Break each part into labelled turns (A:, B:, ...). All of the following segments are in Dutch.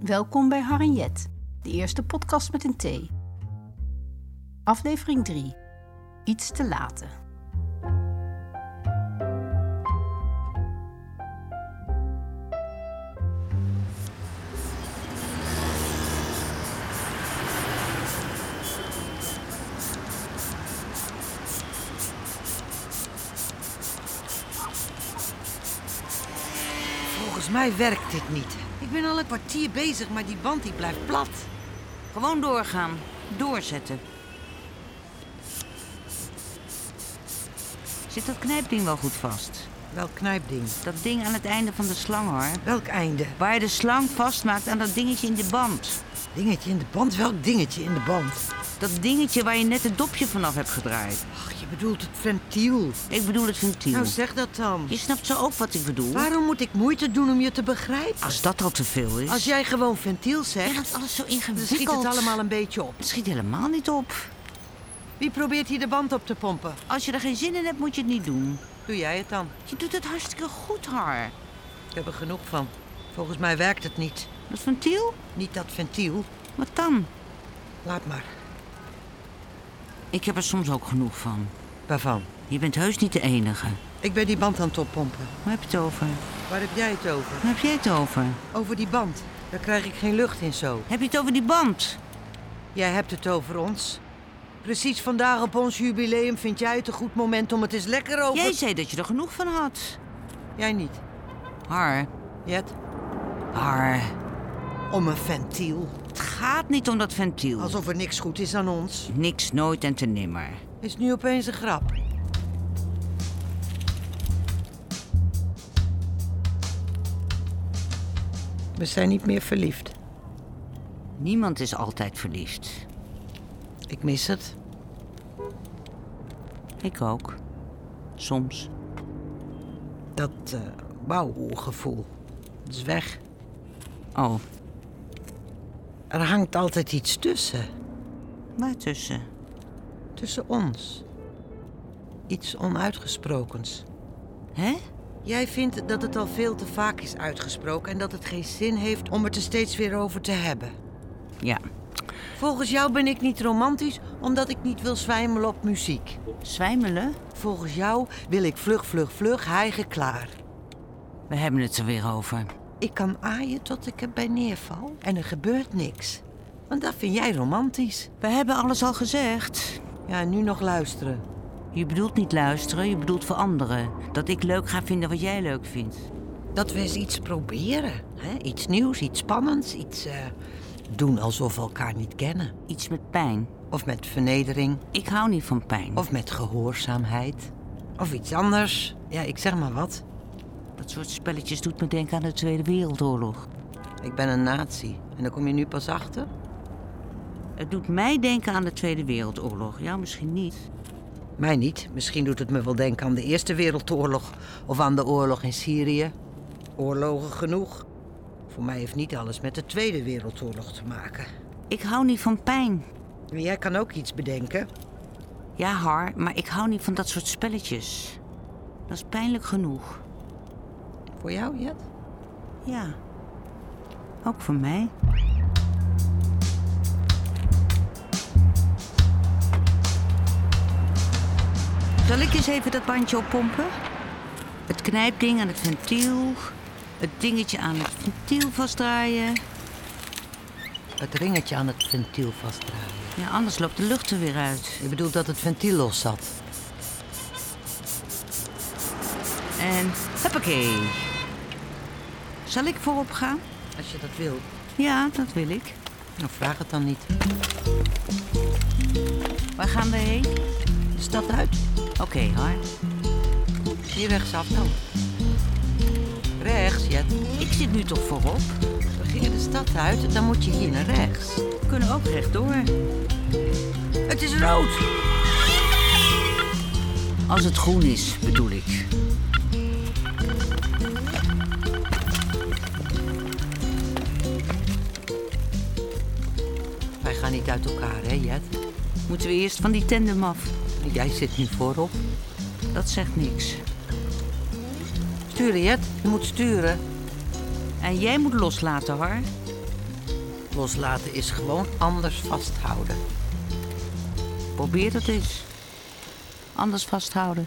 A: Welkom bij Harinjet, de eerste podcast met een T. Aflevering 3. Iets te laten.
B: Volgens mij werkt dit niet. Ik ben al een kwartier bezig, maar die band die blijft plat. Gewoon doorgaan. Doorzetten.
C: Zit dat knijpding wel goed vast?
B: Welk knijpding?
C: Dat ding aan het einde van de slang hoor.
B: Welk einde?
C: Waar je de slang vastmaakt aan dat dingetje in de band.
B: Dingetje in de band? Welk dingetje in de band?
C: Dat dingetje waar je net het dopje vanaf hebt gedraaid.
B: Ach, je bedoelt het ventiel.
C: Ik bedoel het ventiel.
B: Nou, zeg dat dan.
C: Je snapt zo ook wat ik bedoel.
B: Waarom moet ik moeite doen om je te begrijpen?
C: Als dat al te veel is.
B: Als jij gewoon ventiel
C: Ja,
B: zegt,
C: dat alles zo
B: dan
C: ingewikkeld.
B: schiet het allemaal een beetje op.
C: Het schiet helemaal niet op.
B: Wie probeert hier de band op te pompen?
C: Als je er geen zin in hebt, moet je het niet doen.
B: Doe jij het dan?
C: Je doet het hartstikke goed, Har.
B: Ik heb er genoeg van. Volgens mij werkt het niet.
C: Dat ventiel?
B: Niet dat ventiel.
C: Wat dan?
B: Laat maar.
C: Ik heb er soms ook genoeg van.
B: Waarvan?
C: Je bent heus niet de enige.
B: Ik ben die band aan het oppompen.
C: Waar heb je het over?
B: Waar heb jij het over?
C: Waar heb jij het over?
B: Over die band. Daar krijg ik geen lucht in zo.
C: Heb je het over die band?
B: Jij hebt het over ons. Precies vandaag op ons jubileum vind jij het een goed moment om het eens lekker over...
C: Jij zei dat je er genoeg van had.
B: Jij niet,
C: Har,
B: Jet.
C: har.
B: Om een ventiel.
C: Het gaat niet om dat ventiel.
B: Alsof er niks goed is aan ons.
C: Niks, nooit en te nimmer.
B: Is nu opeens een grap. We zijn niet meer verliefd.
C: Niemand is altijd verliefd.
B: Ik mis het.
C: Ik ook. Soms.
B: Dat eh wauw-gevoel. Het is weg.
C: Oh,
B: Er hangt altijd iets tussen.
C: waartussen?
B: Tussen ons. Iets onuitgesprokens.
C: Hè?
B: Jij vindt dat het al veel te vaak is uitgesproken en dat het geen zin heeft om het er steeds weer over te hebben.
C: Ja.
B: Volgens jou ben ik niet romantisch omdat ik niet wil zwijmelen op muziek.
C: Zwijmelen?
B: Volgens jou wil ik vlug, vlug, vlug hijgen klaar.
C: We hebben het er weer over.
B: Ik kan aaien tot ik erbij neerval en er gebeurt niks. Want dat vind jij romantisch.
C: We hebben alles al gezegd.
B: Ja, en nu nog luisteren.
C: Je bedoelt niet luisteren, je bedoelt veranderen. Dat ik leuk ga vinden wat jij leuk vindt.
B: Dat we eens iets proberen. Hè? Iets nieuws, iets spannends, iets eh, doen alsof we elkaar niet kennen.
C: Iets met pijn.
B: Of met vernedering,
C: Ik hou niet van pijn.
B: of met gehoorzaamheid. Of iets anders. Ja, ik zeg maar wat.
C: Dat soort spelletjes doet me denken aan de Tweede Wereldoorlog.
B: Ik ben een nazi. En daar kom je nu pas achter?
C: Het doet mij denken aan de Tweede Wereldoorlog. Ja, misschien niet.
B: Mij niet. Misschien doet het me wel denken aan de Eerste Wereldoorlog. Of aan de oorlog in Syrië. Oorlogen genoeg. Voor mij heeft niet alles met de Tweede Wereldoorlog te maken.
C: Ik hou niet van pijn.
B: Maar jij kan ook iets bedenken.
C: Ja, Har, maar ik hou niet van dat soort spelletjes. Dat is pijnlijk genoeg.
B: Voor jou, Jet?
C: Ja. Ook voor mij. Zal ik eens even dat bandje oppompen? Het knijpding aan het ventiel. Het dingetje aan het ventiel vastdraaien.
B: Het ringetje aan het ventiel vastdraaien.
C: Ja, anders loopt de lucht er weer uit.
B: Je bedoelt dat het ventiel los zat.
C: En huppakee. Zal ik voorop gaan?
B: Als je dat wil,
C: Ja, dat wil ik.
B: dan vraag het dan niet.
C: Waar gaan we heen?
B: De stad uit.
C: Oké, hoor.
B: Hier rechtsaf dan. Rechts, Jet.
C: Ik zit nu toch voorop?
B: We gingen de stad uit, dan moet je hier naar rechts.
C: We kunnen ook rechtdoor.
B: Het is rood!
C: Als het groen is, bedoel ik.
B: Wij gaan niet uit elkaar, hè, Jet?
C: Moeten we eerst van die tandem af?
B: Jij zit nu voorop.
C: Dat zegt niks.
B: Sturen, Jet. Je moet sturen.
C: En jij moet loslaten, hoor.
B: loslaten is gewoon anders vasthouden.
C: Probeer dat eens. Anders vasthouden.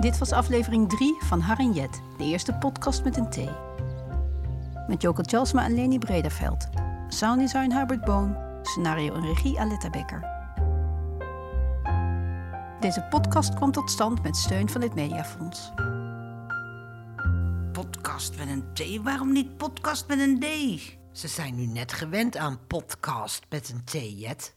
A: Dit was aflevering 3 van Har en Jet, de eerste podcast met een T. Met Joke Tjalsma en Leni Bredeveld. Sounddesign Hubert Boon. Scenario en regie Aletta Becker. Deze podcast kwam tot stand met steun van het Mediafonds.
C: Podcast met een T? Waarom niet podcast met een D?
B: Ze zijn nu net gewend aan podcast met een T-jet.